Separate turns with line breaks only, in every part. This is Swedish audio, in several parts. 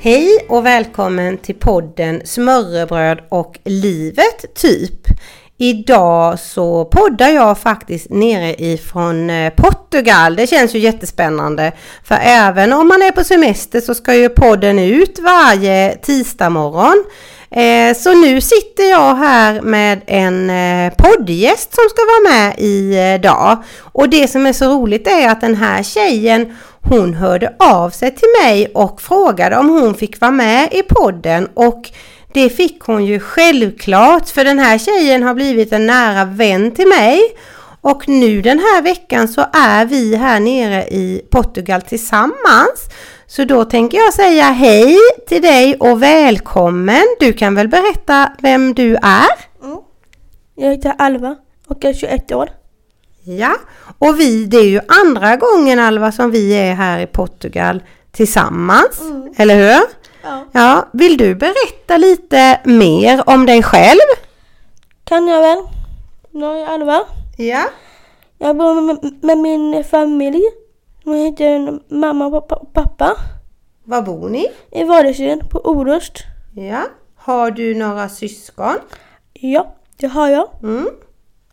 Hej och välkommen till podden Smörrebröd och livet typ. Idag så poddar jag faktiskt nere ifrån eh, Portugal. Det känns ju jättespännande. För även om man är på semester så ska ju podden ut varje tisdag morgon. Eh, Så nu sitter jag här med en eh, poddgäst som ska vara med idag. Och det som är så roligt är att den här tjejen hon hörde av sig till mig och frågade om hon fick vara med i podden och det fick hon ju självklart för den här tjejen har blivit en nära vän till mig. Och nu den här veckan så är vi här nere i Portugal tillsammans. Så då tänker jag säga hej till dig och välkommen. Du kan väl berätta vem du är?
Jag heter Alva och jag är 21 år.
Ja, och vi, det är ju andra gången Alva som vi är här i Portugal tillsammans, eller hur?
Ja.
Ja, vill du berätta lite mer om dig själv?
Kan jag väl? Jag är Alva.
Ja.
Jag bor med, med min familj. De heter mamma och pappa, och pappa
Var bor ni?
i Vardösön på Orust.
Ja. Har du några syskon?
Ja, det har jag.
Mm.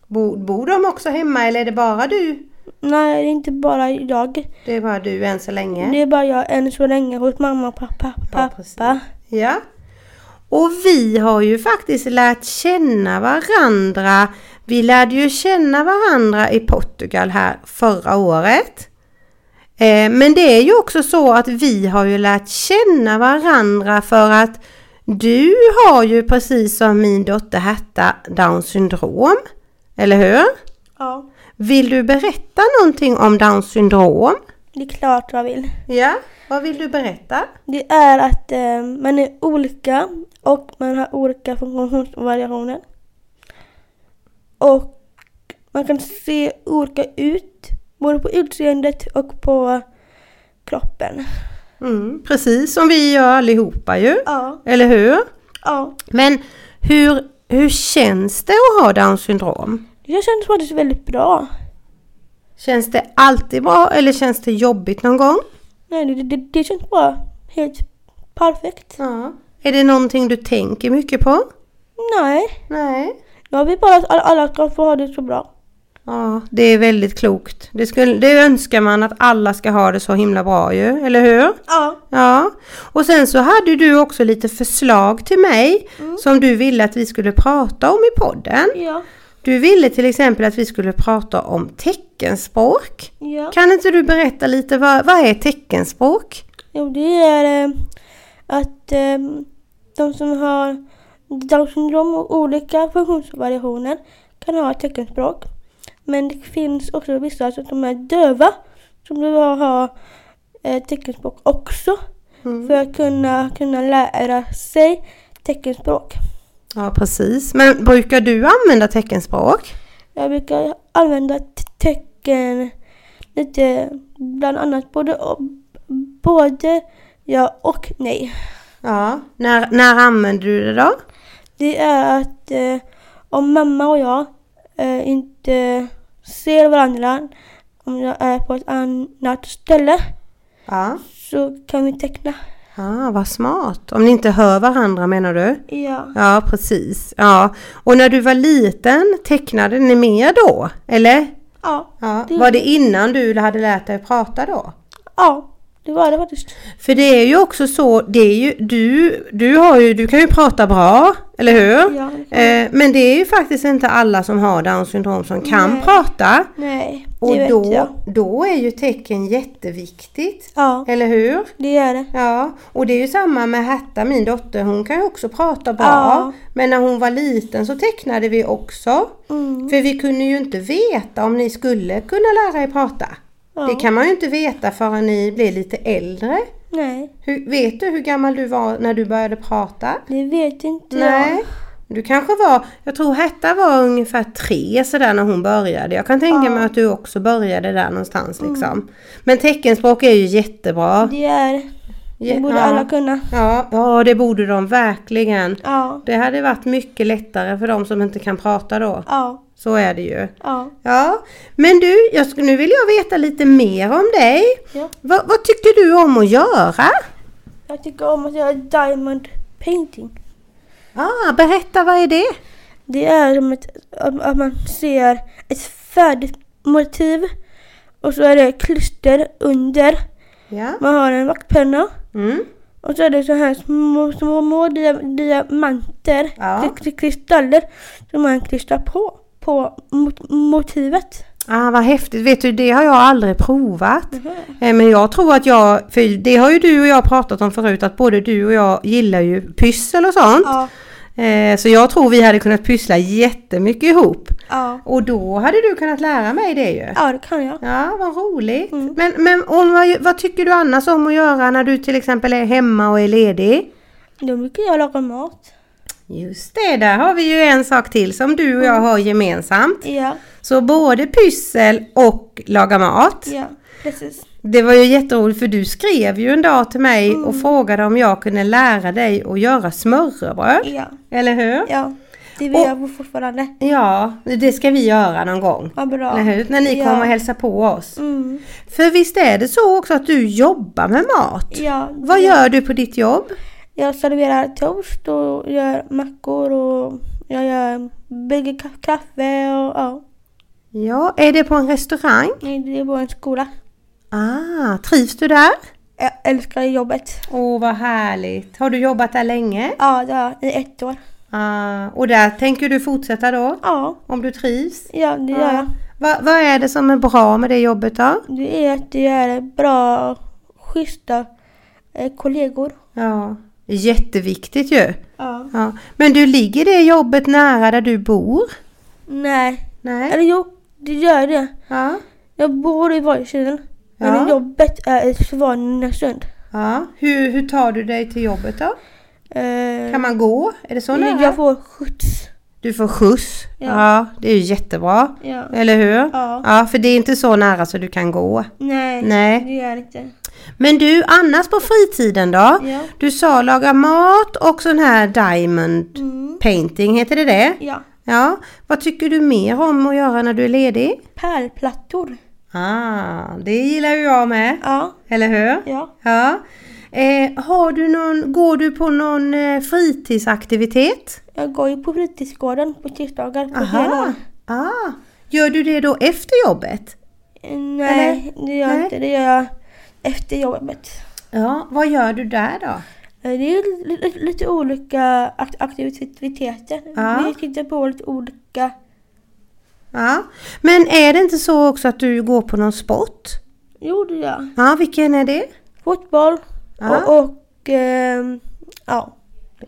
Bor, bor de också hemma eller är det bara du?
Nej, det är inte bara jag.
Det är bara du än så länge.
Det är bara jag än så länge hos mamma och pappa.
Ja,
pappa.
precis. Ja. Och vi har ju faktiskt lärt känna varandra. Vi lärde ju känna varandra i Portugal här förra året. Eh, Men det är ju också så att vi har ju lärt känna varandra för att du har ju precis som min dotter Herta Downs syndrom. Eller hur?
ja,
Vill du berätta någonting om Downs syndrom?
det är klart jag vill.
Ja, vad vill du berätta?
Det är att eh, man är olika och man har olika funktionsvariationer. Och man kan se olika ut, både på utseendet och på kroppen.
Mm, precis som vi gör allihopa ju.
Ja,
Eller hur?
ja.
Men hur, hur känns det att ha Downs syndrom?
Det känns faktiskt väldigt bra.
Känns det alltid bra eller känns det jobbigt någon gång?
Nej, det, det, det känns bra. Helt perfekt.
Ja. Är det någonting du tänker mycket på?
Nej,
Nej.
jag vill bara att alla- alla ska få ha det så bra.
Ja, det är väldigt klokt. Det, skulle, det önskar man att alla ska ha det så himla bra ju, eller hur?
Ja,
Ja. Och sen så hade du också lite förslag till mig som du ville att vi skulle prata om i podden.
ja,
Du ville till exempel att vi skulle prata om teckenspråk.
ja.
Kan inte du berätta lite, vad, vad är teckenspråk?
Jo, det är eh, att eh, de som har Downs syndrom och olika funktionsvariationer kan ha teckenspråk. Men det finns också vissa som är döva som behöver ha eh, teckenspråk också
Mm.
för att kunna, kunna lära sig teckenspråk.
Ja, precis. Men brukar du använda teckenspråk?
Jag brukar använda te- tecken lite, bland annat både, och- både ja och nej.
Ja. När, när använder du det då?
Det är att eh, om mamma och jag eh, inte ser varandra, om jag är på ett annat ställe,
Ja.
så kan vi teckna.
Ja, vad smart. Om ni inte hör varandra menar du?
Ja.
Ja, precis. Ja. Och när du var liten, tecknade ni mer då? Eller?
Ja.
Ja.
Det-
Var det innan du hade lärt dig prata då?
Ja, det var det faktiskt.
För det är ju också så, det är ju, du, du, har ju, du kan ju prata bra, eller hur?
Ja, det kan
eh, men det är ju faktiskt inte alla som har Downs syndrom som kan
Nej.
prata.
Nej, det
Och
vet jag.
då, då är ju tecken jätteviktigt,
Ja,
eller hur?
det är det.
Ja, och det är ju samma med Herta, min dotter, hon kan ju också prata bra.
Ja.
Men när hon var liten så tecknade vi också.
Mm.
För vi kunde ju inte veta om ni skulle kunna lära er prata.
Ja.
Det kan man ju inte veta förrän ni blir lite äldre.
Nej,
Hur, vet du hur gammal du var när du började prata?
det vet inte
Nej. Du kanske var, jag tror Hetta var ungefär tre sådär när hon började. Jag kan tänka
Ja. Mm.
mig att du också började där någonstans liksom. Men teckenspråk är ju jättebra.
Det är
Ja.
det. borde alla kunna.
Ja, ja det borde de verkligen.
Ja.
Det hade varit mycket lättare för de som inte kan prata då.
Ja.
Så är det ju.
Ja.
Ja, men du, jag, sk- nu vill jag veta lite mer om dig.
ja.
Vad- vad tyckte du om att göra?
Jag tycker om att göra diamond painting.
Ah, berätta, vad är det?
Det är som ett, att att man ser ett färdigt motiv och så är det klister under.
Ja.
Man har en vaktpenna
Mm.
och så är det så här små, små, små dia, diamanter,
Ja.
kri- kri- kristaller som man klistrar på, på mot, motivet.
Ah, vad häftigt. Vet du, det har jag aldrig provat.
Mm.
Eh, Men jag tror att jag, för det har ju du och jag pratat om förut, att både du och jag gillar ju pyssel och sånt.
Ja.
Eh, Så jag tror vi hade kunnat pyssla jättemycket ihop.
Ja.
Och då hade du kunnat lära mig det ju.
ja, det kan jag.
Ja, vad roligt. Men, men om, vad, vad tycker du annars om att göra när du till exempel är hemma och är ledig?
Då brukar jag laga mat.
Just det, där har vi ju en sak till som du och jag har gemensamt.
Ja,
Så både pyssel och laga mat.
ja, precis.
Det var ju jätteroligt för du skrev ju en dag till mig och frågade om jag kunde lära dig att göra smörrebröd.
Ja,
Eller hur?
ja. Det vill
Och-
jag fortfarande.
Ja, det ska vi göra någon gång.
Vad bra.
Eller hur? När ni
ja.
kommer och hälsar på oss.
Mm.
För visst är det så också att du jobbar med mat?
Ja,
Vad
det-
gör du på ditt jobb?
Jag serverar toast och gör mackor och jag gör bygger ka- kaffe och ja.
Ja, är det på en restaurang?
Nej, Det är på en skola.
Ah, trivs du där?
Jag älskar jobbet.
Åh, vad härligt. Har du jobbat där länge?
Ja, det har jag i ett år.
Ah, och där tänker du fortsätta då?
Ja,
Om du trivs?
ja det gör jag.
Va, vad är det som är bra med det jobbet då?
Det är att det är bra, schyssta eh, kollegor.
Ja, jätteviktigt ju.
Ja.
Ja. Men du, ligger det jobbet nära där du bor?
Nej,
Nej?
eller jo, det gör det.
Ja.
Jag bor i Vargkilen, men
Ja.
jobbet är i Svanesund.
ja. Hur, hur tar du dig till jobbet då?
Eh,
Kan man gå? Är det så
Mm, jag
nära?
får skjuts.
Du får skjuts.
Ja.
Ja, det är ju jättebra.
Ja.
Eller hur?
Ja.
Ja, för det är inte så nära så du kan gå.
Nej,
Nej.
det gör det inte.
Men du, annars på fritiden då?
Ja.
Du sa laga mat och sån här diamond
Mm.
painting, heter det det?
Ja.
Ja. Vad tycker du mer om att göra när du är ledig?
Pärlplattor.
Ah, det gillar ju jag med.
Ja,
Eller hur?
ja.
Ja. Eh, har du någon, går du på någon eh, fritidsaktivitet?
Jag går ju på fritidsgården på tisdagar på
Aha.
hela.
Ah. Gör du det då efter jobbet?
Nej, det gör
Nej.
jag inte. Det gör jag efter jobbet.
Ja. Vad gör du där då?
Eh, Det är li- li- lite olika ak- aktiviteter.
Ja.
Vi tittar på lite olika.
Ja. Men är det inte så också att du går på någon sport?
Jo, det gör jag.
Ja, vilken är det?
Fotboll
Ja.
och, och ehm, ja.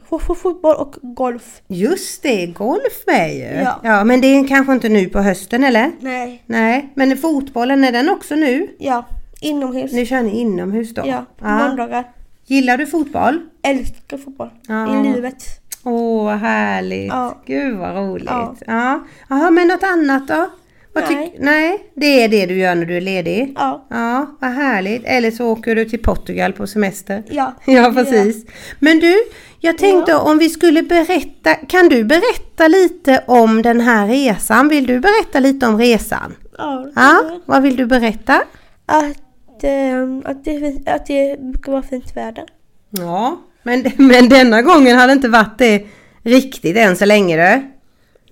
Fo- fo- Fotboll och golf.
Just det, golf med ju.
Ja.
ja, men det är kanske inte nu på hösten eller?
Nej,
Nej, men fotbollen är den också nu?
ja. Inomhus.
Nu kör ni inomhus då?
Ja, på måndagar.
Gillar du fotboll?
Älskar fotboll.
Ja.
I livet.
Åh, vad härligt.
Ja.
Gud vad roligt. Ja.
Ja.
Ja. men något annat då? Vad tyck-
Nej.
Nej, det är det du gör när du är ledig?
Ja.
Ja, vad härligt. Eller så åker du till Portugal på semester.
Ja.
Ja, precis. Men du, jag tänkte om vi skulle berätta, kan du berätta lite om den här resan? Vill du berätta lite om resan?
Ja.
Ja, vad vill du berätta?
Att, ehm, att, det, fin- att det brukar vara fint väder.
Ja, men, men denna gången har det inte varit det riktigt än så länge du.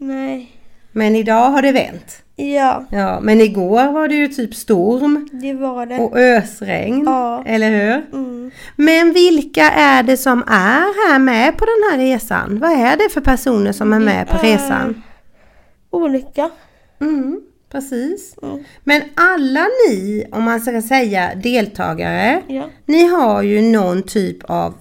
Nej.
Men idag har det vänt.
Ja,
Ja, men igår var det ju typ storm
det var det.
och ösregn,
Ja.
eller hur?
Mm.
Men vilka är det som är här med på den här resan? Vad är det för personer som är med på
är-
resan?
Olika.
Mm, precis.
Mm.
Men alla ni, om man ska säga deltagare,
Ja.
ni har ju någon typ av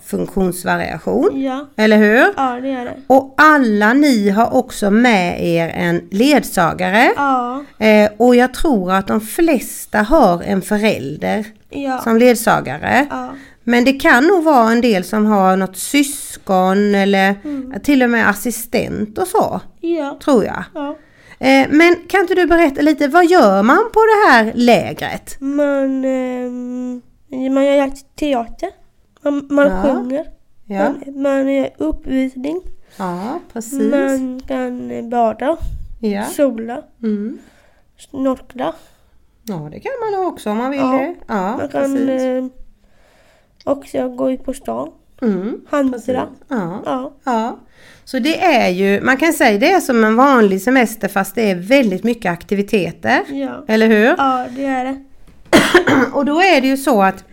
funktionsvariation,
ja.
eller hur?
Ja, det är det.
Och alla ni har också med er en ledsagare.
Ja.
Eh, och jag tror att de flesta har en förälder
Ja.
som ledsagare.
Ja.
Men det kan nog vara en del som har något syskon eller
Mm.
till och med assistent och så,
Ja.
tror jag.
ja.
Eh, Men kan inte du berätta lite, vad gör man på det här lägret?
Man, ehm, man gör teater. Man, man
Ja.
sjunger.
Ja,
Man, man gör uppvisning.
ja precis.
Man kan bada,
Ja.
sola,
Mm.
snorkla.
ja, det kan man också om man vill
Ja.
det. Ja,
Man kan
precis.
eh, också gå ut på stan,
Mm.
handla.
Ja.
Ja.
Ja, så det är ju, man kan säga det är som en vanlig semester fast det är väldigt mycket aktiviteter.
Ja.
Eller hur?
ja, det är det.
Och då är det ju så att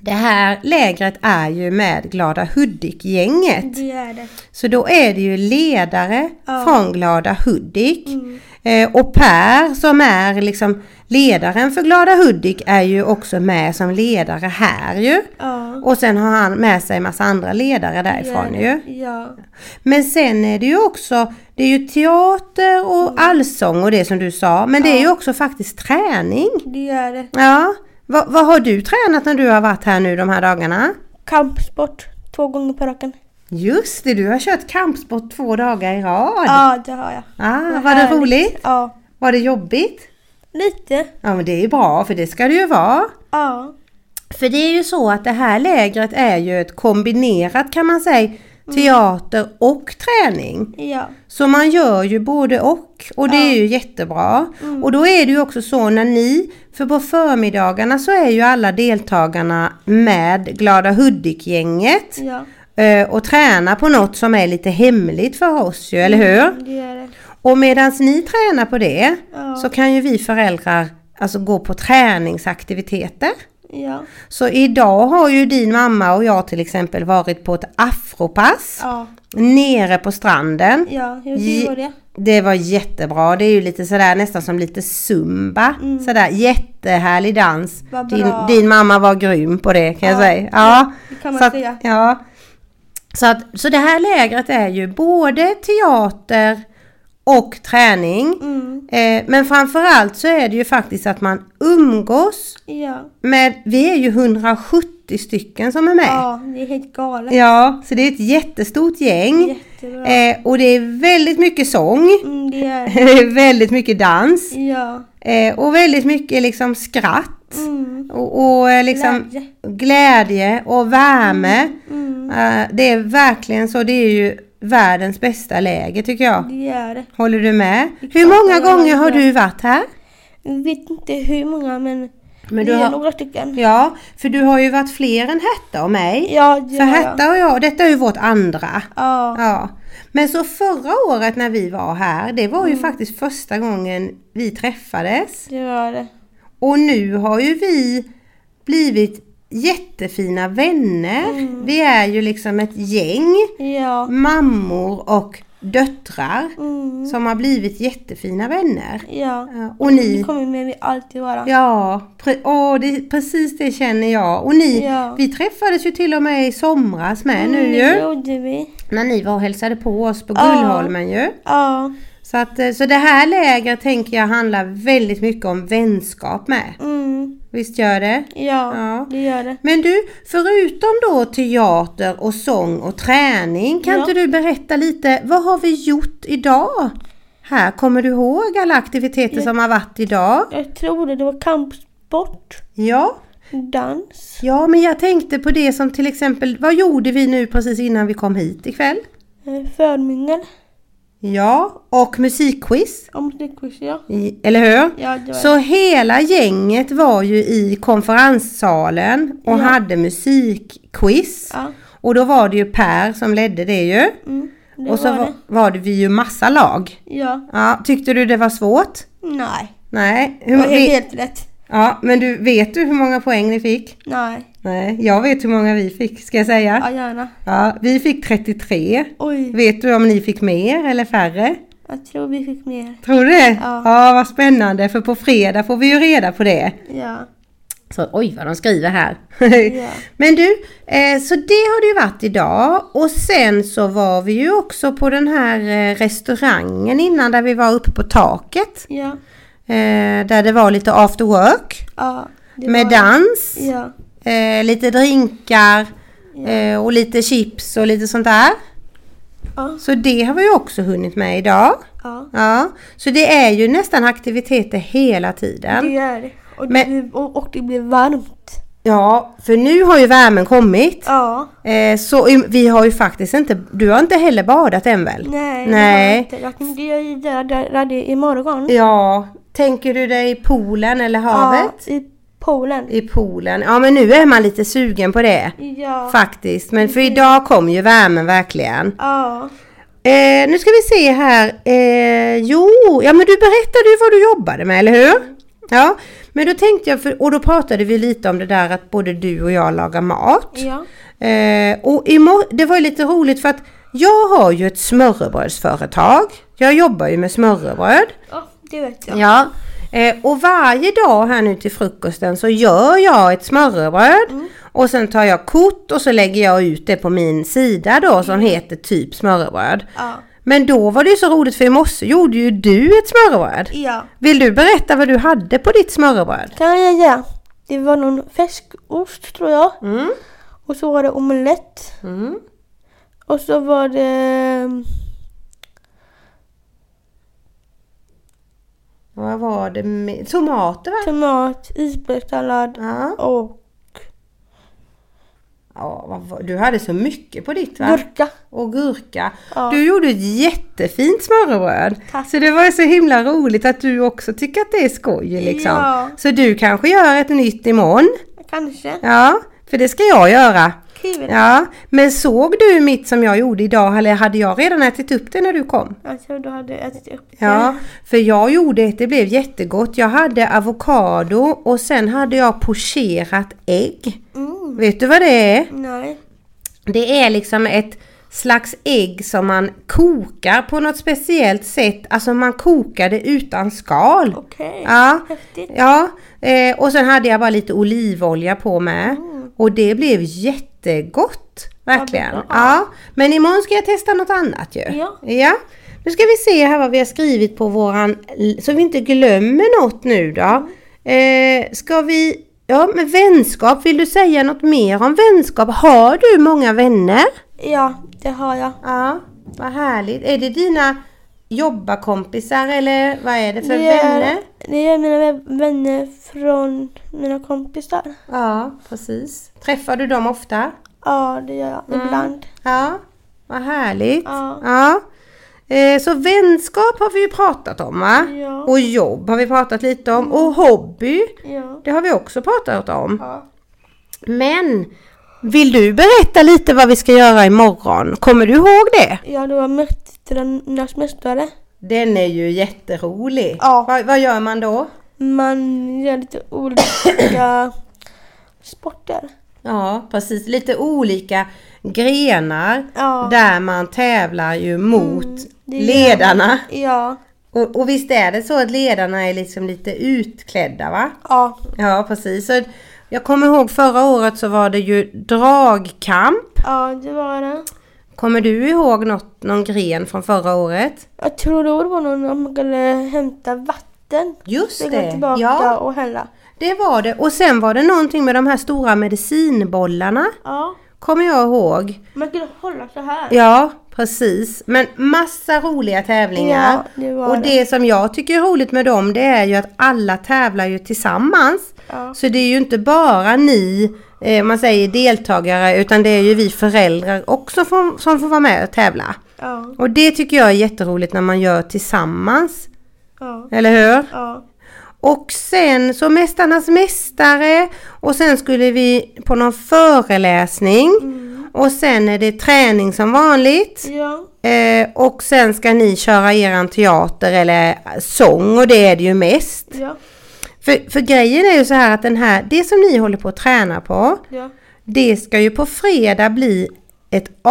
det här lägret är ju med Glada Hudik-gänget.
Det är det.
Så då är det ju ledare
Ja.
från Glada Hudik.
Mm.
Eh, och Per som är liksom ledaren för Glada Hudik är ju också med som ledare här ju.
Ja.
Och sen har han med sig massa andra ledare därifrån
det
ju.
är det. Ja.
Men sen är det ju också, det är ju teater
Mm.
och allsång och det som du sa, men det är ju också faktiskt träning.
Det är det.
Ja, vad, vad har du tränat när du har varit här nu de här dagarna?
Kampsport, två gånger på raken.
Just det, du har kört kampsport två dagar i rad.
Ja, det har jag.
Ah,
Vad
var det
härligt.
roligt?
Ja.
Var det jobbigt?
Lite.
Ja men det är ju bra, för det ska det ju vara.
Ja.
För det är ju så att det här lägret är ju ett kombinerat kan man säga, teater och träning.
Ja.
Så man gör ju både och och det är ju jättebra. Och då är det ju också så när ni, för på förmiddagarna så är ju alla deltagarna med Glada Hudik-gänget
Ja.
eh, och tränar på något som är lite hemligt för oss ju, eller hur?
Det är det.
Och medan ni tränar på det
Ja.
så kan ju vi föräldrar alltså gå på träningsaktiviteter.
Ja.
Så idag har ju din mamma och jag till exempel varit på ett afropass
Ja.
nere på stranden.
Ja. Hur var det?
Det var jättebra. Det är ju lite sådär nästan som lite zumba. Sådär jättehärlig dans.
Mm. Vad
Din,
bra.
din mamma var grym på det kan jag
Ja,
säga. Ja,
Det kan man
så, att,
säga.
ja. Så, att, så det här lägret är ju både teater och träning.
Mm.
Eh, men framförallt så är det ju faktiskt att man umgås
Ja.
med, vi är ju 170 stycken som är med.
Ja, det är helt galet.
Ja, så det är ett jättestort gäng.
Jättebra.
Eh, och det är väldigt mycket sång.
Mm, det är det.
Det är väldigt mycket dans
Ja.
eh, och väldigt mycket liksom skratt
Mm.
och, och eh, liksom
Glädje.
glädje och värme.
Mm.
Eh, det är verkligen så, det är ju världens bästa läge tycker jag.
Det är det.
Håller du med?
klart
Hur många
jag håller
gånger har
med.
du varit här?
Jag vet inte hur många men,
Men du
det är
har,
några stycken.
ja, för du har ju varit fler än Herta och mig.
Ja, det
För
har
Herta och jag, detta är ju vårt andra.
Ja.
Ja. Men så förra året när vi var här, det var ju
Mm.
faktiskt första gången vi träffades.
Det är det.
Och nu har ju vi blivit jättefina vänner.
Mm.
Vi är ju liksom ett gäng
Ja.
mammor och döttrar
Mm.
som har blivit jättefina vänner.
Ja.
Ja, Och
Det
ni,
kommer med vi alltid vara.
ja, pre, åh, det, precis det känner jag. Och ni,
Ja.
vi träffades ju till och med i somras med
Mm,
nu
Det
ju.
gjorde vi.
När ni var och hälsade på oss på
Ja.
Gullholmen ju.
Ja.
Så, att, eh, så det här lägret tänker jag handlar väldigt mycket om vänskap med.
Mm.
Visst gör det?
Ja,
Ja.
det gör det.
Men du, förutom då teater och sång och träning, kan
Ja.
inte du berätta lite, vad har vi gjort idag? Här, kommer du ihåg alla aktiviteter
Ja.
som har varit idag?
Jag tror det, det var kampsport,
Ja.
dans.
ja, men jag tänkte på det som till exempel, vad gjorde vi nu precis innan vi kom hit ikväll?
eh, Förmingel.
Ja, och musikquiz,
Om styckvis ja.
I- eller hur?
Ja, det var
Så hela gänget var ju i konferenssalen och
Ja.
hade musikquiz.
Ja.
Och då var det ju Per som ledde det ju.
Mm, det
Och så
var
var,
det.
var det vi ju massa lag.
Ja.
Ja, tyckte du det var svårt?
Nej.
Nej.
Det
Hur,
var
vi,
helt rätt.
ja, men du, vet du hur många poäng ni fick?
Nej.
Nej, jag vet hur många vi fick ska jag säga.
Ja, gärna.
Ja, vi fick 33.
Oj,
Vet du om ni fick mer eller färre?
jag tror vi fick mer.
Tror du det?
Ja.
ja vad spännande för på fredag får vi ju reda på det.
Ja.
Så, oj vad de skriver här.
Ja.
Men du, eh, så det har det ju varit idag och sen så var vi ju också på den här eh, restaurangen innan där vi var uppe på taket.
Ja.
Eh, där det var lite after work
Ja. det
med
var-
dans
Ja.
eh, lite drinkar eh, och lite chips och lite sånt där.
Ja.
Så det har vi ju också hunnit med idag.
ja.
Ja, så det är ju nästan aktiviteter hela tiden.
Det är det. Och,
Men-
det blir, och, och det blir varmt.
Ja, för nu har ju värmen kommit.
Ja.
Eh, så i- vi har ju faktiskt inte, du har inte heller badat än väl?
Nej,
Nej.
det har jag inte. Jag tänkte göra det där det imorgon.
Ja, tänker du dig i poolen eller havet?
Ja, I poolen.
I poolen, ja men nu är man lite sugen på det.
Ja.
Faktiskt, men för idag kom ju värmen verkligen.
Ja.
Eh, nu ska vi se här. Eh, jo, ja men du berättade ju vad du jobbade med, eller hur? Ja, men då tänkte jag, för, och då pratade vi lite om det där att både du och jag lagar mat.
Ja.
Eh, och i mor- det var ju lite roligt för att jag har ju ett smörrebrödsföretag. Jag jobbar ju med smörrebröd.
ja, det vet jag.
Ja. Eh, och varje dag här nu till frukosten så gör jag ett smörrebröd. Och sen tar jag kort och så lägger jag ut det på min sida då som heter typ smörrebröd.
Ja.
Men då var det ju så roligt för i morse gjorde ju du ett smörrebröd.
ja.
Vill du berätta vad du hade på ditt smörrebröd?
Kan jag göra. Det var någon färskost tror jag. Och så var det omelett.
Mm.
Och så var det... mm,
Vad var det med? Tomater va?
Tomat, isbergssallad
Ja.
och
ja vad var... Du hade så mycket på ditt va?
gurka.
och gurka.
Ja.
Du gjorde ett jättefint smörrebröd.
Tack.
Så det var ju så himla roligt att du också tycker att det är skoj liksom.
Ja.
Så du kanske gör ett nytt imorgon.
Kanske.
Ja, för det ska jag göra.
Kul.
Ja, men såg du mitt som jag gjorde idag eller hade jag redan ätit upp det när du kom?
Alltså då hade jag ätit upp det.
Ja, för jag gjorde ett, det blev jättegott. Jag hade avokado och sen hade jag pocherat ägg.
Mm.
Vet du vad det är?
Nej.
Det är liksom ett slags ägg som man kokar på något speciellt sätt. Alltså man kokar det utan skal.
Okej.
Ja,
Häftigt.
ja. Eh, och sen hade jag bara lite olivolja på med. Och det blev jättegott. Verkligen.
Mm. Ja, bra.
Ja. Men imorgon ska jag testa något annat ju.
Ja.
ja. Nu ska vi se här vad vi har skrivit på våran, så vi inte glömmer något nu då.
Mm.
Eh, ska vi, ja men vänskap, vill du säga något mer om vänskap? Har du många vänner?
Ja, det har jag.
Ja, vad härligt. Är det dina jobbarkompisar eller vad är det för
det är,
vänner?
Det är mina vä- vänner från mina kompisar.
Ja, precis. Träffar du dem ofta?
Ja, det gör jag
Mm.
ibland.
Ja, vad härligt.
Ja.
Eh, Så vänskap har vi ju pratat om va?
Ja.
Och jobb har vi pratat lite om. Och hobby,
Ja.
det har vi också pratat om.
ja.
Men vill du berätta lite vad vi ska göra imorgon? Kommer du ihåg det?
Ja, då var Mästarnas mästare.
Den är ju jätterolig.
Ja.
Vad, vad gör man då?
Man gör lite olika sporter.
Ja, precis. Lite olika grenar
Ja.
där man tävlar ju mot
det gör
ledarna.
Ja.
Och, och visst är det så att ledarna är liksom lite utklädda va?
Ja.
Ja precis. Så jag kommer ihåg förra året så var det ju dragkamp.
Ja, det var det.
Kommer du ihåg något, någon gren från förra året?
Jag tror det var någon när man skulle hämta vatten.
Just
Så
det.
gå tillbaka
Ja,
och hälla.
det var det. Och sen var det någonting med de här stora medicinbollarna.
Ja.
Kommer jag ihåg.
Man skulle hålla så här.
Ja, precis. Men massa roliga tävlingar.
Ja, det var
och det, som jag tycker är roligt med dem det är ju att alla tävlar ju tillsammans.
Ja.
Så det är ju inte bara ni, eh, man säger deltagare, utan det är ju vi föräldrar också får, som får vara med och tävla.
Ja.
Och det tycker jag är jätteroligt när man gör tillsammans,
Ja.
eller hur?
Ja.
Och sen så Mästarnas Mästare och sen skulle vi på någon föreläsning och sen är det träning som vanligt.
Ja.
Eh, och sen ska ni köra eran teater eller sång och det är det ju mest.
Ja.
För, för grejen är ju så här att den här, det som ni håller på att träna på,
Ja.
det ska ju på fredag bli ett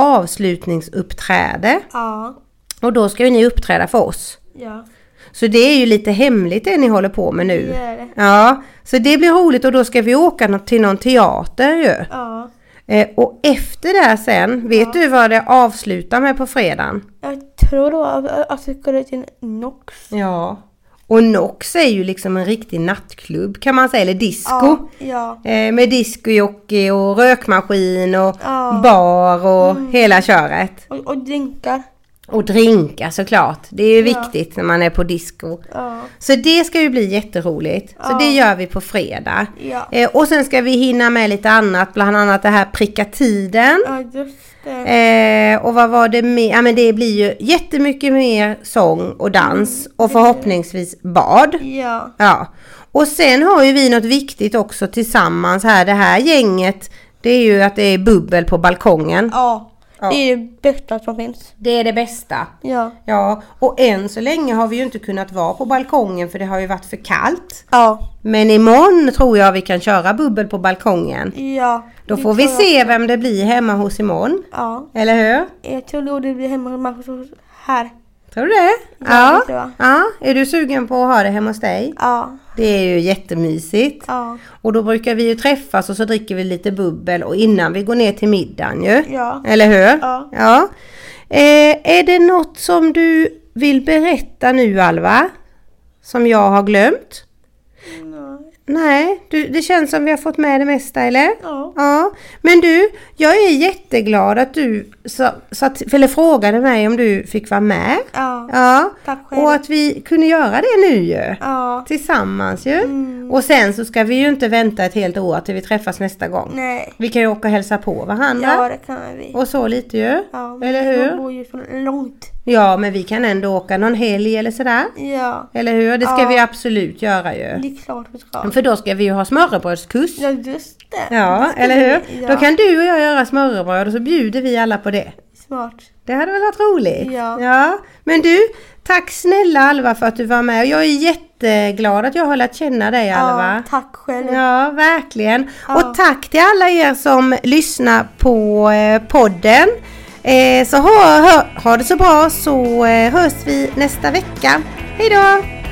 avslutningsuppträde
Ja.
och då ska ju ni uppträda för oss.
Ja.
Så det är ju lite hemligt det ni håller på med nu.
Det är det.
Ja, så det blir roligt och då ska vi åka nå- till någon teater ju.
Ja.
Eh, och efter det här sen, vet du vad det avslutar med på fredagen?
Jag tror det var att vi skulle till Nox.
Ja. Och Nox är ju liksom en riktig nattklubb kan man säga, eller disco.
Ja.
Eh, med discojockey och rökmaskin och
Ja. Mm.
bar och hela köret.
Och, och drinkar.
Och drinkar såklart. Det är ju
Ja.
viktigt när man är på disco.
Ja.
Så det ska ju bli jätteroligt. Så
Ja.
det gör vi på fredag.
Ja.
Eh, och sen ska vi hinna med lite annat, bland annat det här pricka tiden.
Ja, just det.
Eh, och vad var det mer? Ja men det blir ju jättemycket mer sång och dans och förhoppningsvis bad.
Ja.
Ja. Och sen har ju vi något viktigt också tillsammans här, det här gänget. Det är ju att det är bubbel på balkongen.
Ja.
Ja.
Det är det bästa som finns.
Det är det bästa.
Ja.
Ja, och än så länge har vi ju inte kunnat vara på balkongen för det har ju varit för kallt.
Ja.
Men imorgon tror jag vi kan köra bubbel på balkongen.
Ja.
Då
Det
får vi
tror jag.
se vem det blir hemma hos imorgon.
Ja.
Eller hur?
Jag tror nog det blir hemma hos Marcus här.
Tror du det?
Ja, det tror jag.
ja. Är du sugen på att ha det hemma hos dig?
Ja.
Det är ju jättemysigt.
Ja.
Och då brukar vi ju träffas och så dricker vi lite bubbel och innan vi går ner till middagen ju.
Ja.
Eller hur?
Ja.
Eh, är det något som du vill berätta nu Alva? Som jag har glömt?
Nej.
Nej, du, det känns som vi har fått med det mesta eller?
Ja.
Ja, men du, jag är jätteglad att du sa, satt, eller frågade mig om du fick vara med.
Ja.
Ja,
Tack själv.
och att vi kunde göra det nu ju.
Ja. Mm.
Tillsammans ju. Och sen så ska vi ju inte vänta ett helt år till vi träffas nästa gång.
Nej.
Vi kan ju åka och hälsa på varandra.
Ja, det kan vi.
Och så lite ju.
Ja.
Eller
Man
hur?
bor ju så långt.
Ja, men vi kan ändå åka någon helg eller sådär.
Ja.
Eller hur? Det ska
Ja.
vi absolut göra ju.
Det är klart vi ska.
För då ska vi ju ha smörrebrödskurs.
Ja, just det. Det
Ja,
ska
eller
vi-
hur?
Ja.
Då kan du och jag göra smörrebröd och så bjuder vi alla på det.
Smart.
Det hade väl varit roligt?
Ja.
Men du, tack snälla Alva för att du var med. Och Jag är jätteglad att jag har lärt känna dig Alva.
Ja, tack själv.
Ja, verkligen.
Ja.
Och tack till alla er som lyssnar på eh, podden. Eh, så ha, ha, ha det så bra så eh, hörs vi nästa vecka. Hej då!